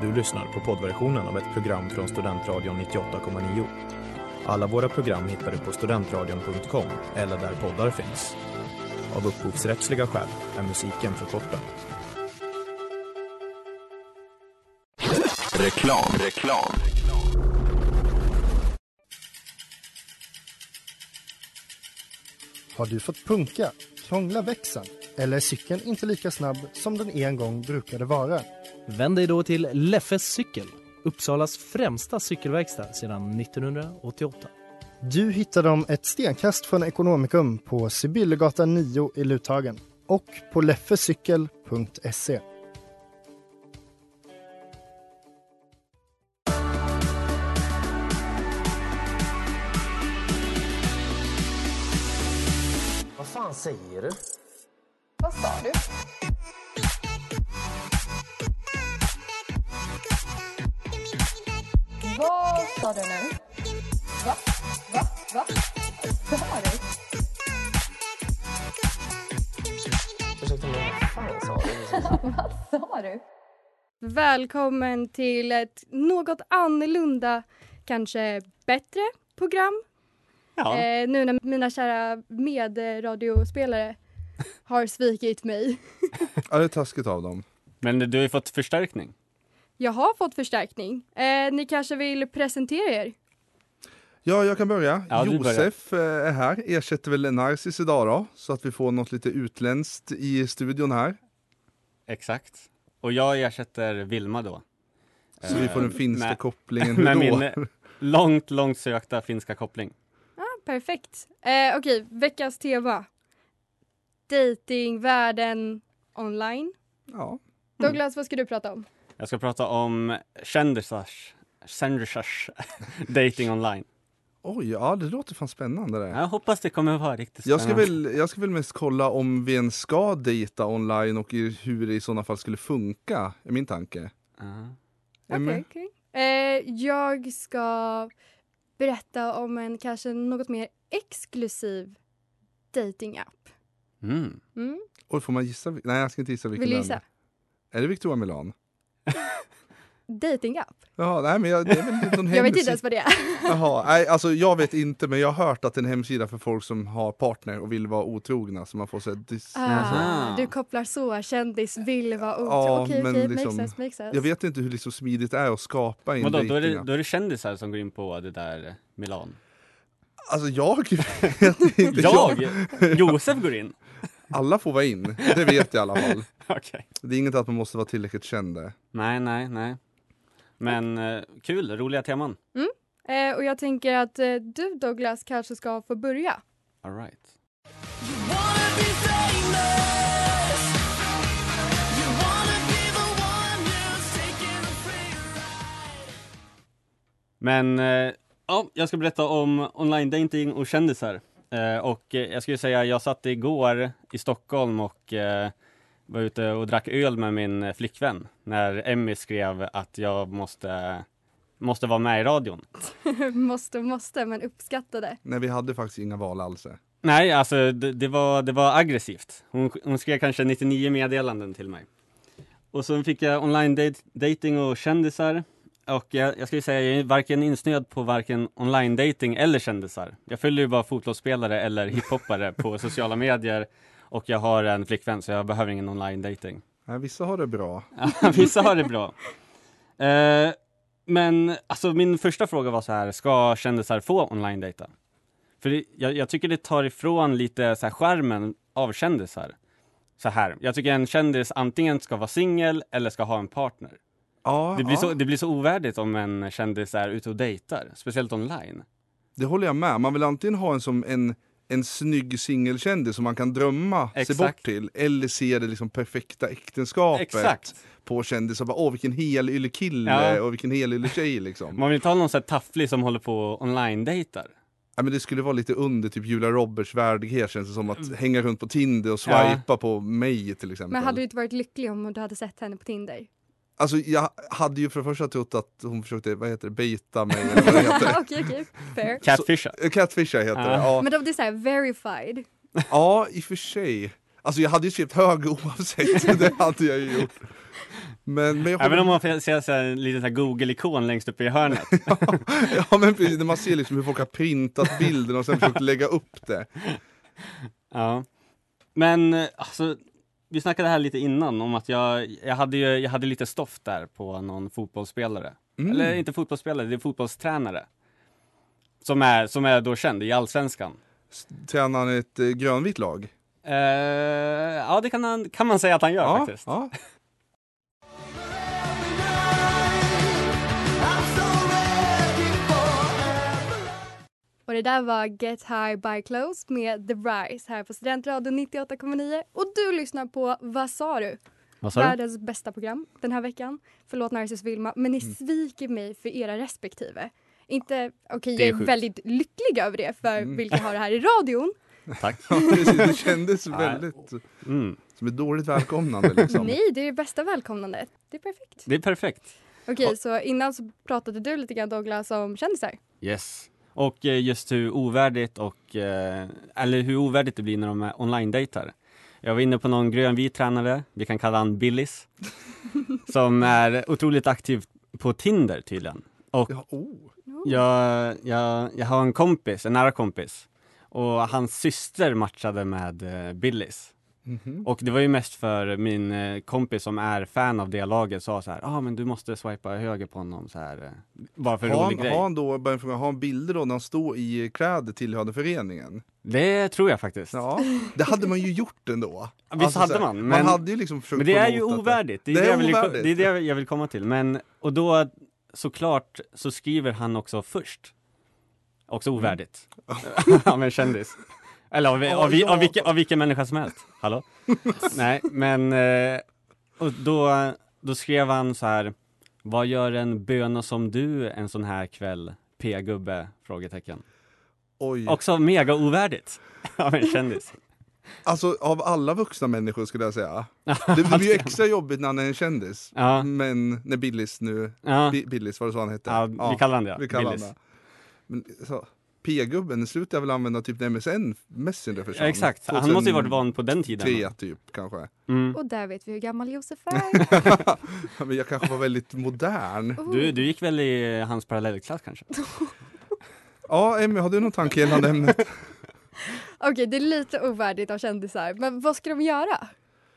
Du lyssnar på poddversionen av ett program från Studentradion 98,9. Alla våra program hittar du på studentradion.com eller där poddar finns. Av upphovsrättsliga skäl är musiken förkortad. Reklam, reklam. Har du fått punka, krångla växeln eller är cykeln inte lika snabb som den en gång brukade vara? Vänd dig då till Leffes cykel, Uppsalas främsta cykelverkstad sedan 1988. Du hittar dem ett stenkast från Ekonomikum på Sibyllegatan 9 i Luthagen och på leffecykel.se. Vad fan säger du? Vad sa du? Vad sa du nu? Va? Va? Va? Hör dig? Ursäkta mig, vad fan sa du? Vad sa du? Välkommen till ett något annorlunda, kanske bättre program. Eh, nu när mina kära medradiospelare har svikit mig. Ja, det är taskigt av dem. Men du har ju fått förstärkning. Jag har fått förstärkning. Eh, ni kanske vill presentera er? Ja, jag kan börja. Ja, du börjar. Josef eh, är här, ersätter väl Narcis idag då, så att vi får något lite utländskt i studion här. Exakt. Och jag ersätter Vilma då. Så Eh, vi får den finska med- kopplingen. Hur Med då? min eh, långt, långt sökta finska koppling. Perfekt. Eh, Okej, veckans tema. Dating, världen, online. Ja. Douglas, vad ska du prata om? Jag ska prata om kändisars, kändisars dating online. Oj, ja det låter fan spännande det. Jag hoppas det kommer vara riktigt Jag ska, spännande. väl, jag ska väl mest kolla om vi ens ska dejta online och i- hur det i sådana fall skulle funka, är min tanke. Ehm, Ja. Emma? Okej, okej. Eh, jag ska berätta om en kanske något mer exklusiv datingapp. Mm. Mm. Oj, får man gissa? vil- Nej, jag ska inte gissa vilken Vill du den gissa? Är det Victoria Milan? Datingapp? Jaha, nej men jag, det är väl någon Jag vet hemsida. inte ens vad det är. Jaha, nej, alltså jag vet inte men jag har hört att det är en hemsida för folk som har partner och vill vara otrogna så man får säga dis- Ah, Jaha. du kopplar så, kändis vill vara otrogen. Ja, okej, men okej, liksom- makes sense, makes sense. Jag vet inte hur liksom smidigt det är att skapa en Vadå, då är, det, dejtingapp. då är det kändisar som går in på det där eh, Milan? Alltså jag vet inte. Jag? Josef går in? Alla får vara in, det vet jag i alla fall. Okej. Det är inget att man måste vara tillräckligt känd där. Nej, nej, nej. Men eh, kul, roliga teman. Eh, och jag tänker att eh, du Douglas kanske ska få börja. All right. Men eh, ja, jag ska berätta om online dating och kändisar. Eh, och eh, jag skulle säga, jag satt igår i Stockholm och eh, var ute och drack öl med min eh, flickvän när Emmy skrev att jag måste, måste vara med i radion. måste, måste, men uppskattade. Nej vi hade faktiskt inga val alls. Nej, alltså det, det, var, det var aggressivt. Hon, hon skrev kanske 99 meddelanden till mig. Och sen fick jag online date, dating och kändisar. Och jag, jag ska ju säga, jag är varken insnöad på varken online dating eller kändisar. Jag följer ju bara fotbollsspelare eller hiphoppare på sociala medier. Och jag har en flickvän så jag behöver ingen online dating. Nej, vissa har det bra. Ja, Vissa har det bra. Eh, men alltså min första fråga var så här, ska kändisar få online data? För det, jag, jag tycker det tar ifrån lite så här skärmen av kändisar. Så här, jag tycker en kändis antingen ska vara singel eller ska ha en partner. Ja, Det blir, ja. så, det blir så ovärdigt om en kändis är ute och dejtar, speciellt online. det håller jag med. Man vill antingen ha en som en, en snygg singelkändis som man kan drömma sig Exakt. bort till. Eller se det liksom perfekta äktenskapet Exakt. på kändisar. Bara, Åh vilken helyllekille Ja. och vilken helyllekille liksom. Man vill inte ha någon så här tafflig som håller på och online-dejtar. Ja, men det skulle vara lite under typ Julia Roberts värdighet känns det som att hänga runt på Tinder och swipa på mig till exempel. Men hade du inte varit lycklig om du hade sett henne på Tinder? Alltså jag hade ju för det första trott att hon försökte, vad heter det, baita mig eller vad det heter. Okej, okej, fair. Catfisha. Eh, Catfisha heter det. Ja. Men om det är såhär verified, ja, i och för sig. Alltså jag hade ju skrivit hög oavsett, det hade jag ju gjort. Men, men jag Även om man får se så här, en liten så här Google-ikon längst uppe i hörnet. Ja men precis, när man ser liksom hur folk har printat bilden och sen försökt lägga upp det. Ja. Men eh, alltså, vi snackade här lite innan om att jag, jag, hade, ju, jag hade lite stoff där på någon fotbollsspelare. Mm. Eller inte fotbollsspelare, det är fotbollstränare. Som är, som är då känd i allsvenskan. S- Tränar han ett eh, grönvitt lag? Eh, ja, det kan, han, kan man säga att han gör faktiskt. ja. Och det där var Get High By Close med The Rise här på Studentradion 98,9. Och du lyssnar på Vad sa du? Vad sa du? Världens bästa program den här veckan. Förlåt Narcissus och Vilma, men ni Mm. sviker mig för era respektive. Inte, okej Det är jag är sjukt. Mm. väldigt lycklig över det för vilka har det här i radion. Tack. Ja, precis, det kändes Nej. väldigt Mm. som ett dåligt välkomnande liksom. Nej, det är det bästa välkomnandet. Det är perfekt. Det är perfekt. Okej, Ja. så innan så pratade du lite grann Douglas om kändisar. Yes. Och eh, just hur ovärdigt och, eh, eller hur ovärdigt det blir när de är online-dejtar. Jag var inne på någon grönvit tränare, vi kan kalla han Billis, som är otroligt aktiv på Tinder tydligen. Och Ja, oh. jag, jag, jag har en kompis, en nära kompis, och hans syster matchade med eh, Billis. Mhm. Och det var ju mest för min eh, kompis som är fan av det laget sa så här, ah, men du måste swipa höger på honom så här, eh, bara för en Har rolig han, grej. har han då, bara en fråga, har han bilder då när han står i kläder tillhörande föreningen? Det tror jag faktiskt. Ja, det hade man ju gjort ändå. Alltså, Visst hade så här, man, men, man hade ju liksom försökt men det är ju promota ovärdigt. Det är Det det, är jag vill, ovärdigt. det är det jag vill komma till. Men, och då såklart så skriver han också först. Också ovärdigt. ja men kändis. Eller av, av, Mm. Ja, av, ja. av, vilken, av vilken människa som helst. Hallå? Nej men, eh, och då, då skrev han så här. Vad gör en böna som du en sån här kväll? P-gubbe? Frågetecken. Oj. Också mega ovärdigt. av en kändis. Alltså av alla vuxna människor skulle jag säga. Det blir ju extra jobbigt när han är en kändis. Ja, Men när Billis nu, ja. Bi- Billis var det så han hette? Ja, vi kallar han det. vi kallar Billis. honom det. Men så, P-gubben, den slutade jag väl använda typ när MSN Messenger försvann? Ja, exakt. Han måste ju varit van på den 2003 tiden. typ kanske. Mm. Och där vet vi hur gammal Josef är. Ja, Men jag kanske var väldigt modern. Du, du gick väl i hans parallellklass kanske? Ja, Emmy, har du någon tanke gällande ämnet? Okej, det är lite ovärdigt av kändisar, men vad ska de göra?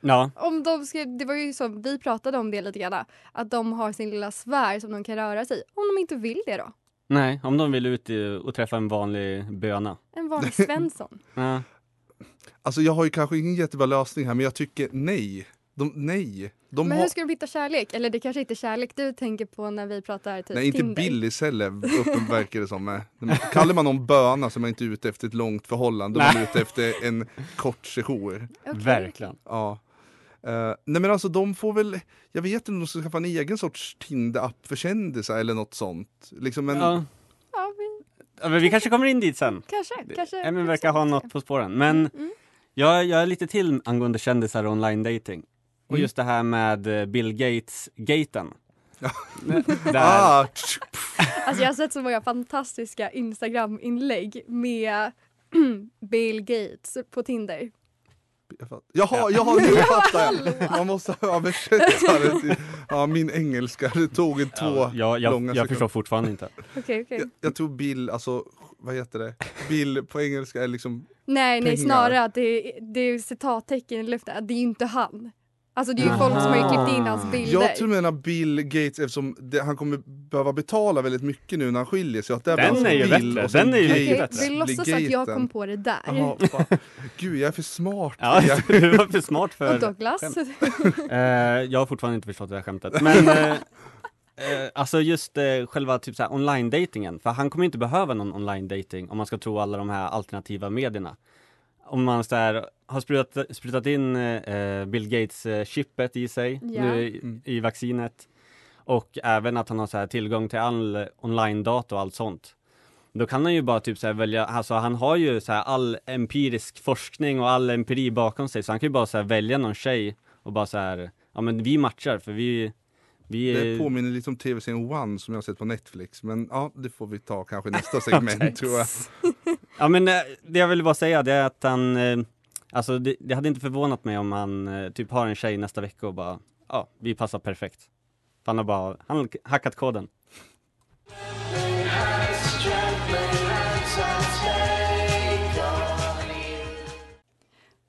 Ja. Om de ska, det var ju som vi pratade om det lite grann, att de har sin lilla sfär som de kan röra sig i. Om de inte vill det då? Nej, om de vill ut i- och träffa en vanlig böna. En vanlig Svensson. Ja. Alltså jag har ju kanske ingen jättebra lösning här, men jag tycker nej. De, nej. De Men har... hur ska de hitta kärlek? Eller det kanske inte är kärlek du tänker på när vi pratar typ Nej, inte Tinder. Billis heller, uppen- verkar det som. Eh, Kallar man någon böna så är man inte ute efter ett långt förhållande, då är man ute efter en kort sejour. Okej. Verkligen. Ja. Eh, nej men alltså de får väl, jag vet inte om de ska skaffa en egen sorts Tinder-app för kändisar eller något sånt. Liksom Mm. en, Ja. Ja, vi, Ja, men vi kanske kommer in dit sen. kanske. kanske Emmy kanske verkar ha inte. något på spåren. Men Mm. jag, jag är lite till angående kändisar och online dating. Mm. Och just det här med eh, Bill Gates-gaten. Där, ah, tsch, Alltså jag har sett så många fantastiska Instagram-inlägg med Bill Gates på Tinder. jag fatt- Jaha, jaha, nu fattar jag! Man måste översätta det till, ja min engelska, det tog en två ja, jag, långa jag, jag sekunder. förstår fortfarande inte. Okej, okej. Jag, jag tror Bill, alltså vad heter det? Bill på engelska är liksom, Nej, nej, pengar. snarare att det, är- det är citattecken i luften. att Det är ju inte han. Alltså det är ju folk som har ju klippt in hans bilder. jag tror du menar Bill Gates eftersom det, han kommer behöva betala väldigt mycket nu när han skiljer sig. Att det Den blir är ju alltså bättre, och sen den är ju Okej, mycket Gates vi bättre. blir låtsas att jag Gaten. kom på det där. Jaha, fan. Gud, jag är för smart. Ja, Jag- du var för smart för... Och Douglas. skämt. Eh, jag har fortfarande inte förstått det här skämtet. Men eh, eh, alltså just eh, själva typ så här online datingen För han kommer inte behöva någon online dating om man ska tro alla de här alternativa medierna. Om man så här, har sprutat, sprutat in eh, Bill Gates-chippet i sig Ja. nu i, i vaccinet. Och även att han har så här tillgång till all online-data och allt sånt. Då kan han ju bara typ så här välja, alltså han har ju så här all empirisk forskning och all empiri bakom sig så han kan ju bara så här välja någon tjej och bara så här, ja men vi matchar för vi, vi Det påminner lite om tv-serien One som jag har sett på Netflix. Men ja, det får vi ta kanske i nästa segment tror jag. Ja men eh, det jag ville bara säga det är att han eh, Alltså det, det hade inte förvånat mig om han eh, typ har en tjej nästa vecka och bara ja, vi passar perfekt. Han har bara han har hackat koden.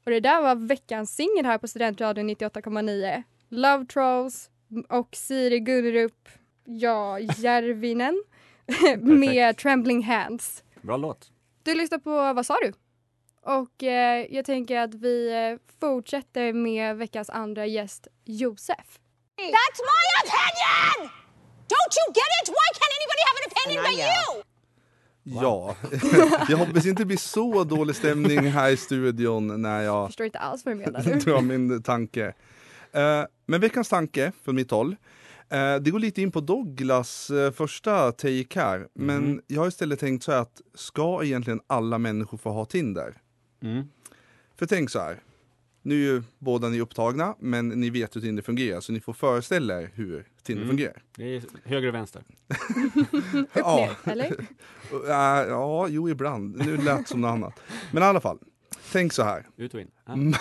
Och det där var veckans singel här på Studentradion 98,9. Love Trolls och Siri Gunnerup, ja, Järvinen med Perfekt. Trembling Hands. Bra låt. Du lyssnar på Vad sa du? Och eh, jag tänker att vi eh, fortsätter med veckans andra gäst, Josef. That's my opinion! Don't you get it? Why can't anybody have an opinion but you? Ja, jag hoppas inte det blir så dålig stämning här i studion när jag Jag förstår inte alls vad du menar. Det var min tanke. Eh, men veckans tanke från mitt håll, eh, det går lite in på Douglas eh, första take här. Men jag har istället tänkt så här att, ska egentligen alla människor få ha Tinder? Mm. För tänk så här, nu är ju båda ni upptagna, men ni vet hur Tinder fungerar, så ni får föreställa er hur Tinder Mm. fungerar. Det är höger och vänster. Ja. Ner, eller? Eh, ja, jo ibland. Nu lät som något annat. Men i alla fall, tänk så här. Ut och in. Ja. Man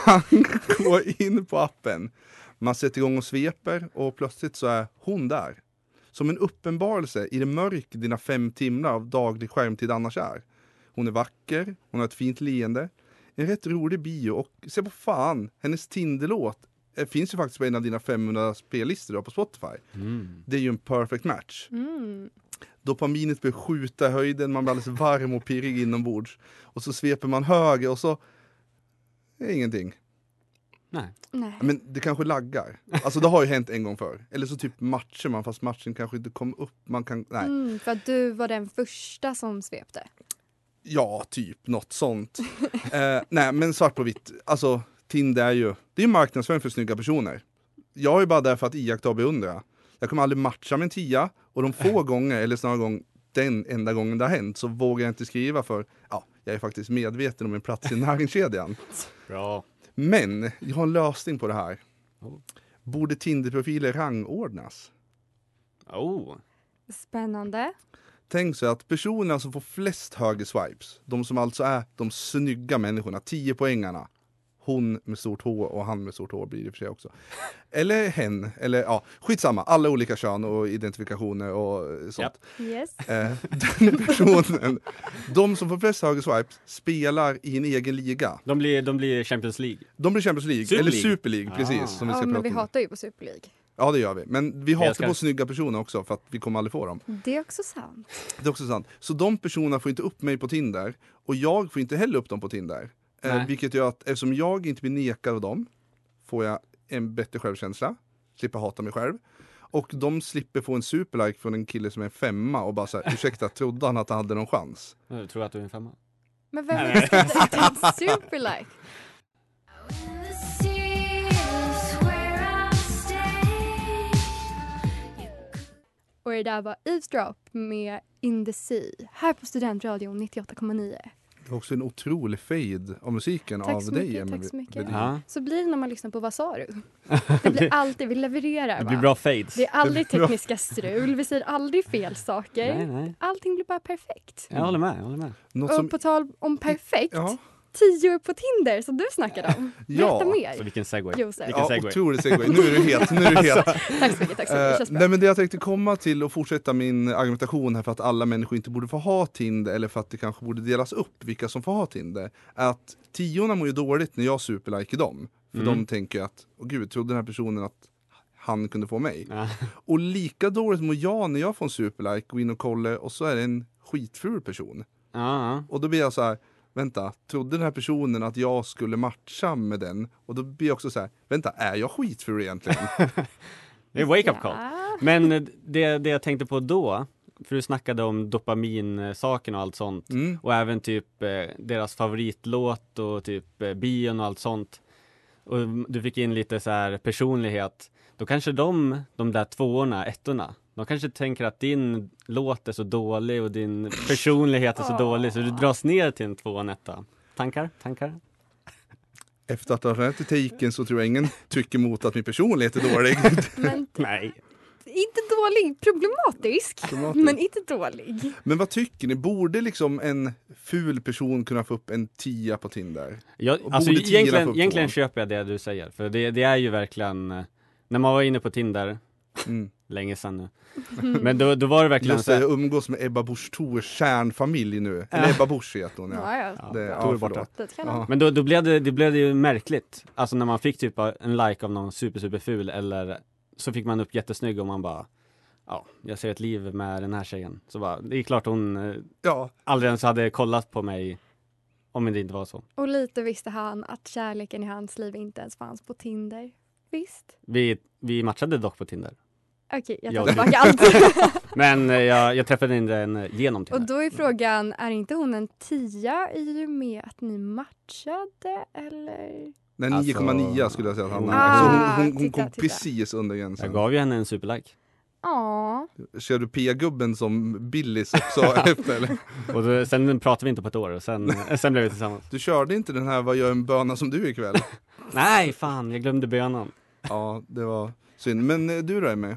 går in på appen, man sätter igång och sveper och plötsligt så är hon där. Som en uppenbarelse i det mörk dina fem timmar av daglig skärmtid annars är. Hon är vacker, hon har ett fint leende, en rätt rolig bio och se på fan, hennes Tinderlåt eh, finns ju faktiskt på en av dina 500 spellistor du har på Spotify. Det är ju en perfect match. Mm. Dopaminet börjar skjuta i höjden, man blir alldeles varm och pirrig inombords. Och så sveper man höger och så... Det är ingenting. Nej. Nej. Men det kanske laggar. Alltså det har ju hänt en gång förr. Eller så typ matchar man fast matchen kanske inte kom upp. Man kan, nej. Mm, för att du var den första som svepte. Ja, typ något sånt. eh, nej, men svart på vitt. Alltså Tinder är ju, det är ju marknadsföring för snygga personer. Jag är ju bara där för att iaktta och beundra. Jag kommer aldrig matcha med en tia och de få gånger, eller snarare gång, den enda gången det har hänt så vågar jag inte skriva för ja, jag är faktiskt medveten om min plats i näringskedjan. Bra. Men jag har en lösning på det här. Oh. Borde Tinder-profiler rangordnas? Oh. Spännande. Tänk så att personerna som får flest höger swipes, de som alltså är de snygga människorna, 10 poängarna. Hon med stort H och han med stort H blir det i och för sig också. Eller hen, eller ja, skitsamma, alla olika kön och identifikationer och eh, sånt. Japp. Yes. Eh, den personen, de som får flest höger swipes spelar i en egen liga. De blir, de blir Champions League. De blir Champions League, Super eller League. Super League, Ah. precis. Som vi ska Ja, men vi prata om. hatar ju på Super League. Ja, det gör vi. Men vi hatar ska- på snygga personer också för att vi kommer aldrig få dem. Det är också sant. Det är också sant. Så de personerna får inte upp mig på Tinder och jag får inte heller upp dem på Tinder. Eh, Nej. vilket gör att eftersom jag inte blir nekad av dem får jag en bättre självkänsla, slipper hata mig själv. Och de slipper få en superlike från en kille som är femma och bara såhär, ursäkta, trodde han att han hade någon chans? Jag tror att du är en femma. Men vem vill skriva ut en superlike? Och det där var Eavesdrop med In the Sea här på Studentradion 98,9. Det var också en otrolig fade av musiken Tack av så dig, mycket, Emma tack Be- så mycket. Bedin. Ja. Så blir det när man lyssnar på Vad sa du? Det blir alltid, vi levererar Det blir va? bra fades. Det är aldrig Det blir bra. tekniska strul, vi säger aldrig fel Nej, saker. nej. Allting blir bara perfekt. Jag håller med. Jag håller med. Något Och som, på tal om perfekt, ja, tio på Tinder som du snackade om. Berätta ja. Så mer, Alltså, vilken segway. Josef. vilken Ja, segway. Alltså, otrolig segway. Nu är du het, nu är du het. Tack så mycket, tack så mycket. Det Eh, känns bra. nej men det jag tänkte komma till och fortsätta min argumentation här för att alla människor inte borde få ha Tinder eller för att det kanske borde delas upp vilka som får ha Tinder. är Att tiorna mår ju dåligt när jag superliker dem. För Mm. de tänker att, åh gud, trodde den här personen att han kunde få mig? Ja. Och lika dåligt mår jag när jag får en superlike, går in och kollar och så är det en skitful person. Ja, Och då blir jag så här, vänta, trodde den här personen att jag skulle matcha med den? Och då blir jag också så här, vänta, är jag skitful egentligen? det är wake up call. Ja. Men eh, det, det jag tänkte på då, för du snackade om dopaminsaken och allt sånt. Mm. Och även typ eh, deras favoritlåt och typ eh, bion och allt sånt. Och du fick in lite så här personlighet. Då kanske de, de där tvåorna, ettorna, de kanske tänker att din låt är så dålig och din personlighet är så dålig så du dras ner till en tvåa, en etta. Tankar? Tankar? Efter att ha hört taken så tror jag ingen tycker emot att min personlighet är dålig. Men Nej. inte dålig, problematisk, men inte dålig. Men vad tycker ni? Borde liksom en ful person kunna få upp en tia på Tinder? Jag, Och alltså borde tiorna få egentligen, upp egentligen tvåan? köper jag det du säger, för det, det är ju verkligen eh, När man var inne på Tinder, Mm. länge sedan nu. Men då, då var det verkligen Just så det, här, jag umgås med Ebba Busch Thors kärnfamilj nu. Eller Ebba Busch heter hon ja. Ja, ja. Ja, Det, Thor ja är borta. förlåt. Dit kan Ja. han. Men då, då blev det, det blev det ju märkligt. Alltså när man fick typ en like av någon super super ful eller så fick man upp jättesnygg och man bara Ja, jag ser ett liv med den här tjejen. Så bara, det är klart hon eh, Ja, aldrig ens hade kollat på mig om det inte var så. Och lite visste han att kärleken i hans liv inte ens fanns på Tinder. Visst? Vi, vi matchade dock på Tinder. Okej, jag tar Ja, det- tillbaka allt. Men eh, jag, jag träffade inte henne genom Tinder. Och då är frågan, är inte hon en tia i och med att ni matchade eller? Nej, Alltså- 9,9 skulle jag säga att han är. Ah, så hon, hon, hon titta, kom titta. precis under Jag gränsen. gav ju henne en superlike. Ja, Kör du P-gubben som Billis också efter? Eller? Och då, sen pratade vi inte på ett år och sen, sen blev vi tillsammans. Du körde inte den här Vad gör en böna som du ikväll? Nej, fan, jag glömde bönan. Ja, det var synd. Men eh, du då Emmy?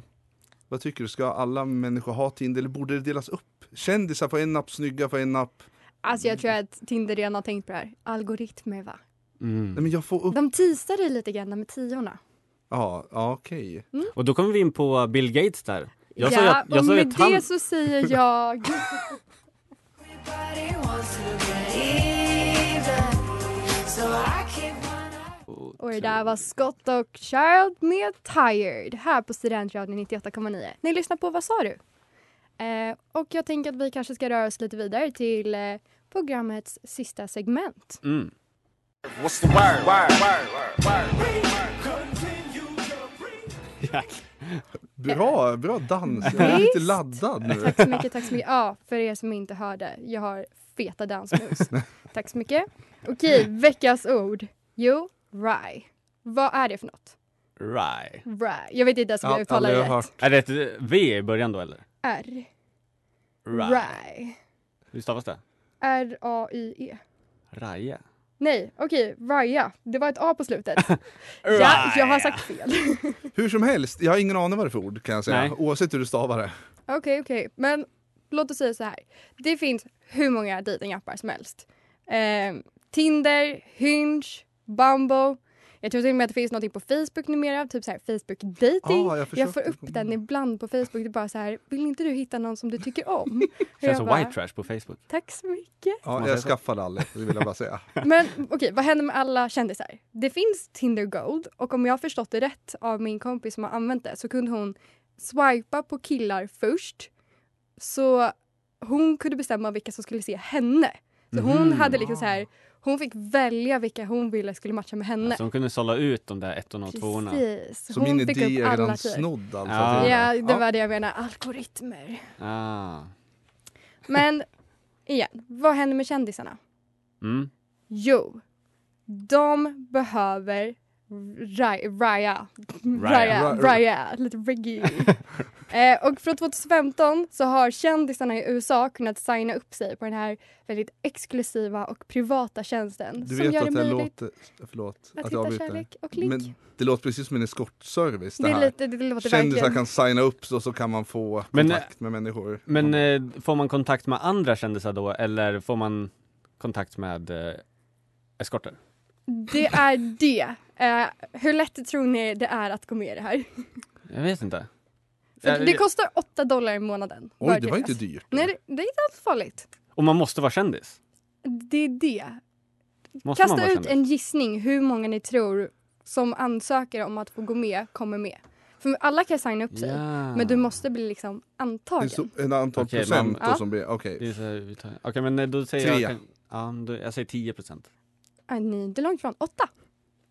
Vad tycker du? Ska alla människor ha Tinder eller borde det delas upp? Kändisar får en app, snygga får en app. alltså jag tror att Tinder redan har tänkt på det här. Algoritmer va? Nej Mm. men jag får upp... De teasar dig lite grann med tiorna. Ja, ja okej. Och då kommer vi in på Bill Gates där. Jag sa ju ja, att- jag och sa ju med att han- det så säger jag Och det där var Scott och Child med Tired här på Studentradion 98,9. Ni lyssnar på Vad sa du? Eh, och jag tänker att vi kanske ska röra oss lite vidare till eh, programmets sista segment. Mm. Jack. Bra, bra dans. Jag är lite laddad nu. Tack så mycket, tack så mycket. Ja, för er som inte hörde, jag har feta dansmoves. tack så mycket. Okej, veckans ord. Jo, rye. Vad är det för något? Right. Rye. Jag vet inte ens om Ja, jag uttalar aldrig det hört. rätt. Är det ett V i början då eller? R. Right. Rye. Hur stavas det? R-A-Y-E. Raje. E. Nej, okej, Raya. Det var ett A på slutet. Raya. ja, jag har sagt fel. Hur som helst, jag har ingen aning vad det är för ord kan jag säga. Nej. Oavsett hur du stavar det. Okej, okej. Men låt oss säga så här. Det finns hur många dejtingappar som helst. Eh, Tinder, Hinge, Bumble. Jag tror till och med att det finns någonting på Facebook numera, typ så här Facebook dating. Ah, jag jag får försökte upp komma den ihåg. ibland på Facebook. Det är bara så här, vill inte du hitta någon som du tycker om? Och jag Känns som bara, white trash på Facebook. Tack så mycket. Ja, jag skaffade aldrig, det vill jag bara säga. Men okej, vad händer med alla kändisar? Det finns Tinder Gold och om jag har förstått det rätt av min kompis som har använt det så kunde hon swipa på killar först. Så hon kunde bestämma vilka som skulle se henne. Så hon Mm. hade liksom så här, hon fick välja vilka hon ville skulle matcha med henne. Alltså, Så de Alltså, kunde sålla ut de där ettorna och tvåorna. Precis. Så hon min fick idé upp är alla redan tjejer. snodd alltså. Ja. till- Ja, det var det jag menade. Algoritmer. Ah. Men igen, vad händer med kändisarna? Mm. Jo, de behöver Raya. Raya. Raya. Ra- Raya. Lite reggae. eh, och från 2015 så har kändisarna i USA kunnat signa upp sig på den här väldigt exklusiva och privata tjänsten Du som vet gör att det det möjligt låter... Förlåt att, att jag hitta avbryter. kärlek och link. Men det låter precis som en eskortservice det det, är här. lite, det låter Kändisar verkligen... kan signa upp så, så kan man få Men, kontakt med människor. Men eh, får man kontakt med andra kändisar då eller får man kontakt med eh, eskorter? Det är det. Eh, hur lätt tror ni det är att gå med i det här? Jag vet inte. För Ja, det ja. kostar 8 dollar i månaden. Oj, bara det var deras. inte dyrt. Nej, det, det är inte alls farligt. Och man måste vara kändis? Det är det. Måste man Kasta vara ut kändis? en gissning hur många ni tror som ansöker om att få gå med kommer med. För alla kan signa upp sig, Ja. typ. men du måste bli liksom Det är antagen. så, en antal Okej, procent man- då Ja. som blir... Okej. Det är så här, vi tar- Okej men eh, då säger Tre. jag... kan- Ja, då, jag säger 10 procent. Äh, ni är inte långt från åtta.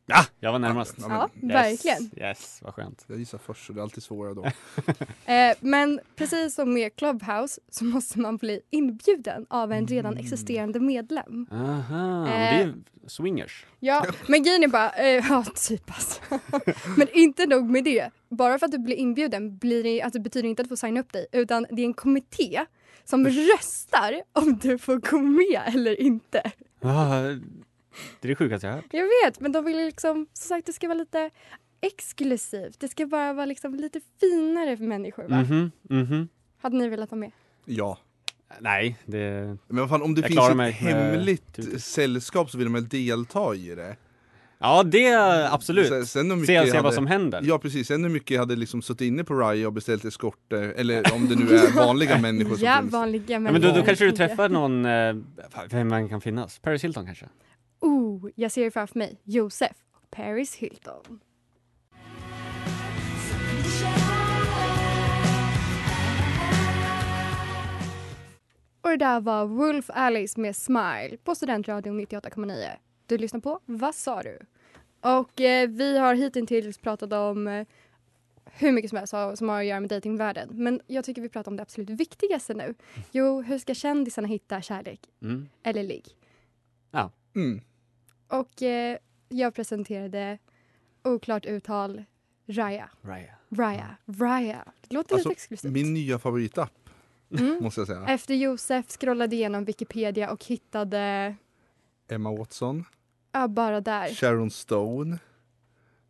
Ja, jag var närmast. Ja, Ja, men- Yes, verkligen. Yes, vad skönt. Jag gissar först så det är alltid svårare då. Eh, men precis som med Clubhouse så måste man bli inbjuden av en Mm. redan existerande medlem. Aha, men det är Eh. ju swingers. Ja, men grejen är bara, eh, ja typ alltså. Men inte nog med det. Bara för att du blir inbjuden blir det, alltså, betyder det inte att du får signa upp dig utan det är en kommitté som röstar om du får gå med eller inte. Ah, det är det sjukaste jag har hört. Jag vet, men de vill ju liksom, som sagt, det ska vara lite exklusivt. Det ska bara vara liksom lite finare för människor. Va? Mm. Mhm, mhm. Hade ni velat vara med? Ja. Nej, det... Men vad fan, om det Jag finns klarar typ- ett mig med hemligt tutor. sällskap så vill de väl delta i det? Ja, det absolut. Sen, sen hur mycket Se, jag se hade, vad som händer. Ja precis, sen hur mycket jag hade liksom suttit inne på Raya och beställt eskorter, eller om det nu är Eh, vanliga människor som Ja, finns. vanliga Ja, men då, då kanske du träffar någon, eh, fan, vem man kan finnas? Paris Hilton kanske? Oh, jag ser det framför mig. Josef och Paris Hilton. Och det där var Wolf Alice med Smile på Studentradion 98,9. Du lyssnar på Vad sa du? Och eh, vi har hittills pratat om eh, hur mycket som helst har- som har att göra med datingvärlden. Men jag tycker vi pratar om det absolut viktigaste nu. Jo, hur ska kändisarna hitta kärlek Mm. eller ligg? Mm. Och eh, jag presenterade oklart uttal Raya. Raya. Raya. Raya. Det låter Alltså, lite exklusivt. Min nya favoritapp, Mm. måste jag säga. Efter Josef scrollade igenom Wikipedia och hittade Emma Watson, ja, bara där. Sharon Stone.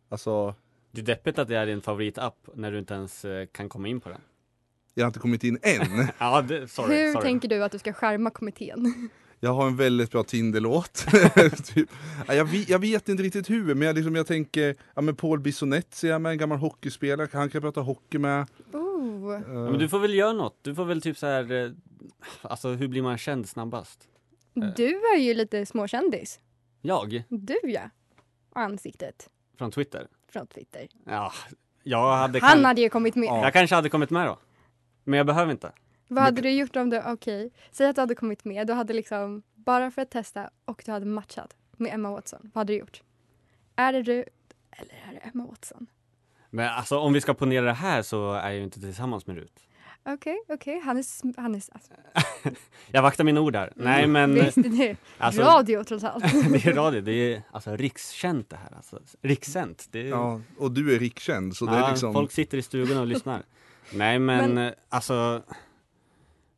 Alltså, Det är deppigt att det är din favoritapp när du inte ens eh, kan komma in på den. jag har inte kommit in än. Ja, det, sorry. Hur sorry. tänker du att du ska skärma kommittén? Jag har en väldigt bra Tinder-låt. typ. ja, jag, vet, jag vet inte riktigt hur, men jag, liksom, jag tänker, ja men Paul Bissonnette ser jag med, en gammal hockeyspelare, han kan prata hockey med. Oh. Eh, Ja, men du får väl göra något. Du får väl typ så här, eh, alltså hur blir man känd snabbast? Du är ju lite småkändis. Jag? Du ja. Och ansiktet Från Twitter? från Twitter. Ja, jag hade Han kan- hade ju kommit med. Jag kanske hade kommit med då. Men jag behöver inte. Vad hade du gjort om du, okej, säg att du hade kommit med, du hade liksom, bara för att testa och du hade matchat med Emma Watson, vad hade du gjort? Är det du eller är det Emma Watson? Men alltså om vi ska ponera det här så är jag ju inte tillsammans med Rut. Okej, okej, han är, sm- han är, alltså, Jag vaktar mina ord där. Nej men, visst det är alltså, radio trots allt. det är radio. Det är alltså rikskänt det här. Alltså, rikskänt. Det är, Ja, och du är rikskänd, så det Ja, är liksom... Folk sitter i stugan och lyssnar. Nej men, eh, alltså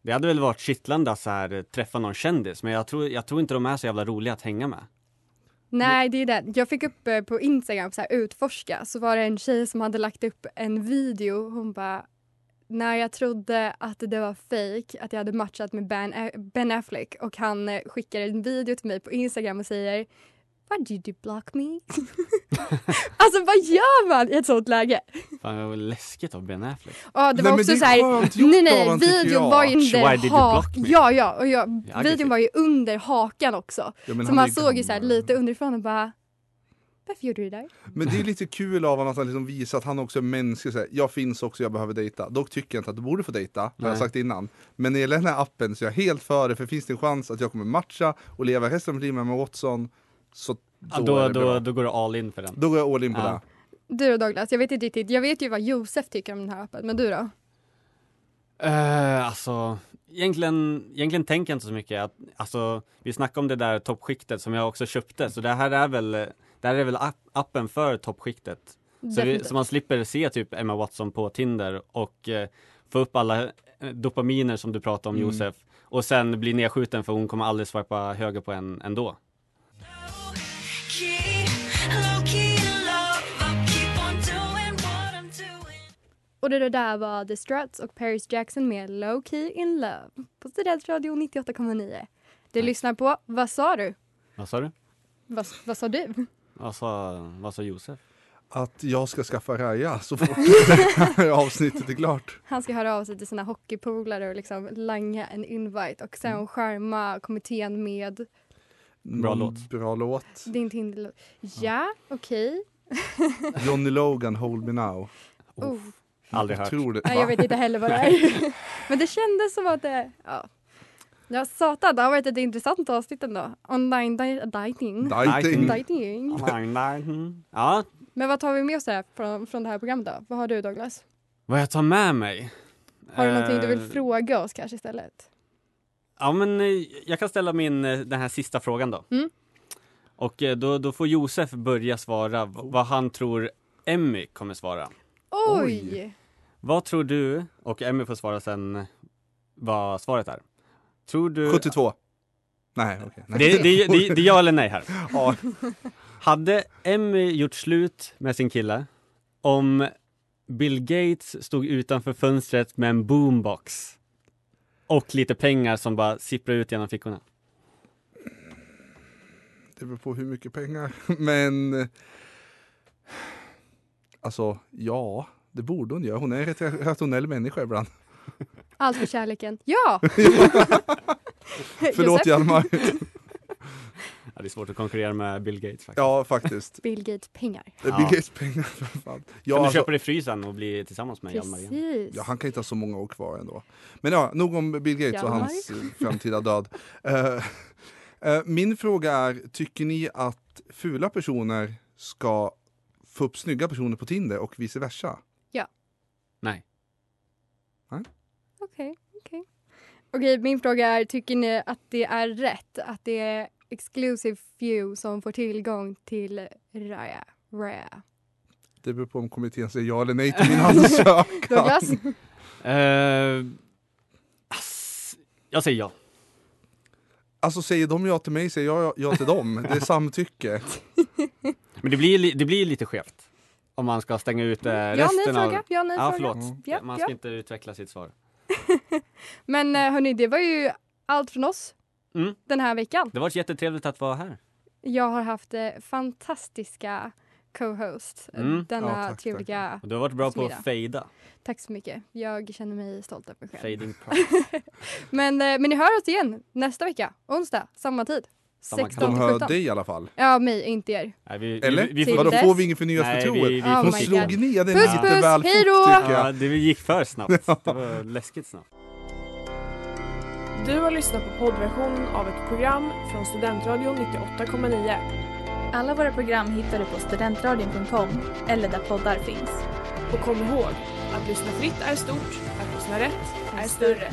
det hade väl varit kittlande att så här, eh, träffa någon kändis, men jag tror, jag tror inte de är så jävla roliga att hänga med. Nej, det är den. Jag fick upp eh, på Instagram, så här, utforska, så var det en tjej som hade lagt upp en video. Hon bara, när jag trodde att det var fake att jag hade matchat med ben, A- ben Affleck och han eh, skickar en video till mig på Instagram och säger Why did you block me? alltså vad gör man i ett sånt läge? Fan vad läskigt av Ben Affleck. Ja, det Nej, var men också det är så här, skönt gjort nej av nej, han, tycker videon jag. var ju Why did under you block hakan. me? Ja, ja, och jag, Ja, aggressiv. videon var ju under hakan också. Ja, men så han man är såg ju så här gammal. lite underifrån och bara, varför gjorde du det där? Men det är lite kul av honom att han liksom visar att han också är mänsklig. Så här, jag finns också, jag behöver dejta. Dock tycker jag inte att du borde få dejta, har jag Nej. sagt innan. Men när det gäller den här appen så är jag helt för det, för finns det en chans att jag kommer matcha och leva resten av mitt liv med Emma Watson, så då, Ja, Då, är det då, bra. då går det all in för den. Då går jag all in på Ja. det. Du då Douglas, jag vet inte riktigt. Jag vet ju vad Josef tycker om den här appen, men du då? Uh, alltså, egentligen, egentligen tänker jag inte så mycket. Att, alltså, vi snackade om det där toppskiktet som jag också köpte, så det här är väl, eh, det här är väl app, appen för toppskiktet. Så, vi, Definitivt. så man slipper se typ Emma Watson på Tinder och eh, få upp alla eh, dopaminer som du pratade Mm. om Josef och sen bli nedskjuten för hon kommer aldrig swipa höger på en ändå. Och det där var The Struts och Paris Jackson med Low Key In Love på Studentradion 98,9. Du lyssnar på Vad sa du? Vad sa du? Vad, vad sa du? Vad sa, vad sa Josef? Att jag ska skaffa Raja så fort avsnittet är klart. Han ska höra av sig till sina hockeypolare och liksom langa en invite och Mm. sen skärma kommittén med Bra Någon låt. Mm, Bra låt. din Tinder. Ja, okej. Johnny Logan, Hold Me Now. Oh. Aldrig Jag hört. tror det. Nej, jag Va? vet inte heller vad det är. Men det kändes som att det... Ja. Ja, satan, det har varit ett intressant avsnitt ändå. Online di- dating. Dieting. Nej. Dating. Mm. Ja, Men vad tar vi med oss här från, från det här programmet då? Vad har du Douglas? vad jag tar med mig. Har du någonting du Eh, vill fråga oss kanske istället? Ja, men eh, jag kan ställa min eh, den här sista frågan då. Mm. Och eh, då, då får Josef börja svara v- vad han tror Emmy kommer svara. Oj! Vad tror du, och Emmy får svara sen vad svaret är. Tror du... 72. Nej, okej. Nej. Det, det, det, det är ja eller nej här. Ja. Hade Emmy gjort slut med sin kille om Bill Gates stod utanför fönstret med en boombox och lite pengar som bara sipprade ut genom fickorna? Det beror på hur mycket pengar. Men... eh, Alltså, ja. Det borde hon göra. Hon är en rätt rationell människa ibland. Allt för kärleken. Ja! Förlåt Josef, Hjalmar. Ja, det är svårt att konkurrera med Bill Gates faktiskt. Ja, faktiskt. Bill Gates pengar. Det är Ja. Bill Gates pengar. för fan. Kan Ja, du alltså, köpa dig fri sen och bli tillsammans med Hjalmar igen? Precis. ja, han kan inte ha så många år kvar ändå. Men ja, nog om Bill Gates och Hjalmar. hans eh, framtida död. Eh, eh, Min fråga är, tycker ni att fula personer ska få upp snygga personer på Tinder och vice versa? Nej. Okej, okej. Okej, min fråga är, tycker ni att det är rätt att det är exclusive few som får tillgång till Raya? Raya. Det beror på om kommittén säger ja eller nej till min ansökan. Douglas? Eh, ass, jag säger ja. Alltså säger de ja till mig säger jag ja till dem. Det är samtycke. Men det blir, li- det blir lite skevt. Om man ska stänga ut eh, Ja, nej resten av... fråga. Ja, nej Ja, fråga. Mm. förlåt. Ja, Man ja. ska inte utveckla sitt svar. Men eh, hörni, det var ju allt från oss Mm. den här veckan. Det har varit jättetrevligt att vara här. Jag har haft eh, fantastiska co-hosts eh, Mm. denna Ja, tack, trevliga... Och du har varit bra på Smida. att fejda. Tack så mycket. Jag känner mig stolt över mig själv. Fading pride. Men, eh, men ni hör oss igen nästa vecka, onsdag, samma tid. Samma De hör 16-17. dig i alla fall. Ja, mig, inte er. Nej, vi, Eller? Vi, vi Till får... Vadå, dess. får vi inget förnyat Nej, förtroende? vi, vi Oh Hon får my cykla. slog typ, ner den Puss, lite puss, väl fort hej då! tycker jag. Ja, det gick för snabbt. Det var läskigt snabbt. Du har lyssnat på poddversion av ett program från Studentradion 98,9. Alla våra program hittar du på studentradion.com eller där poddar finns. Och kom ihåg, att lyssna fritt är stort, att lyssna rätt är större.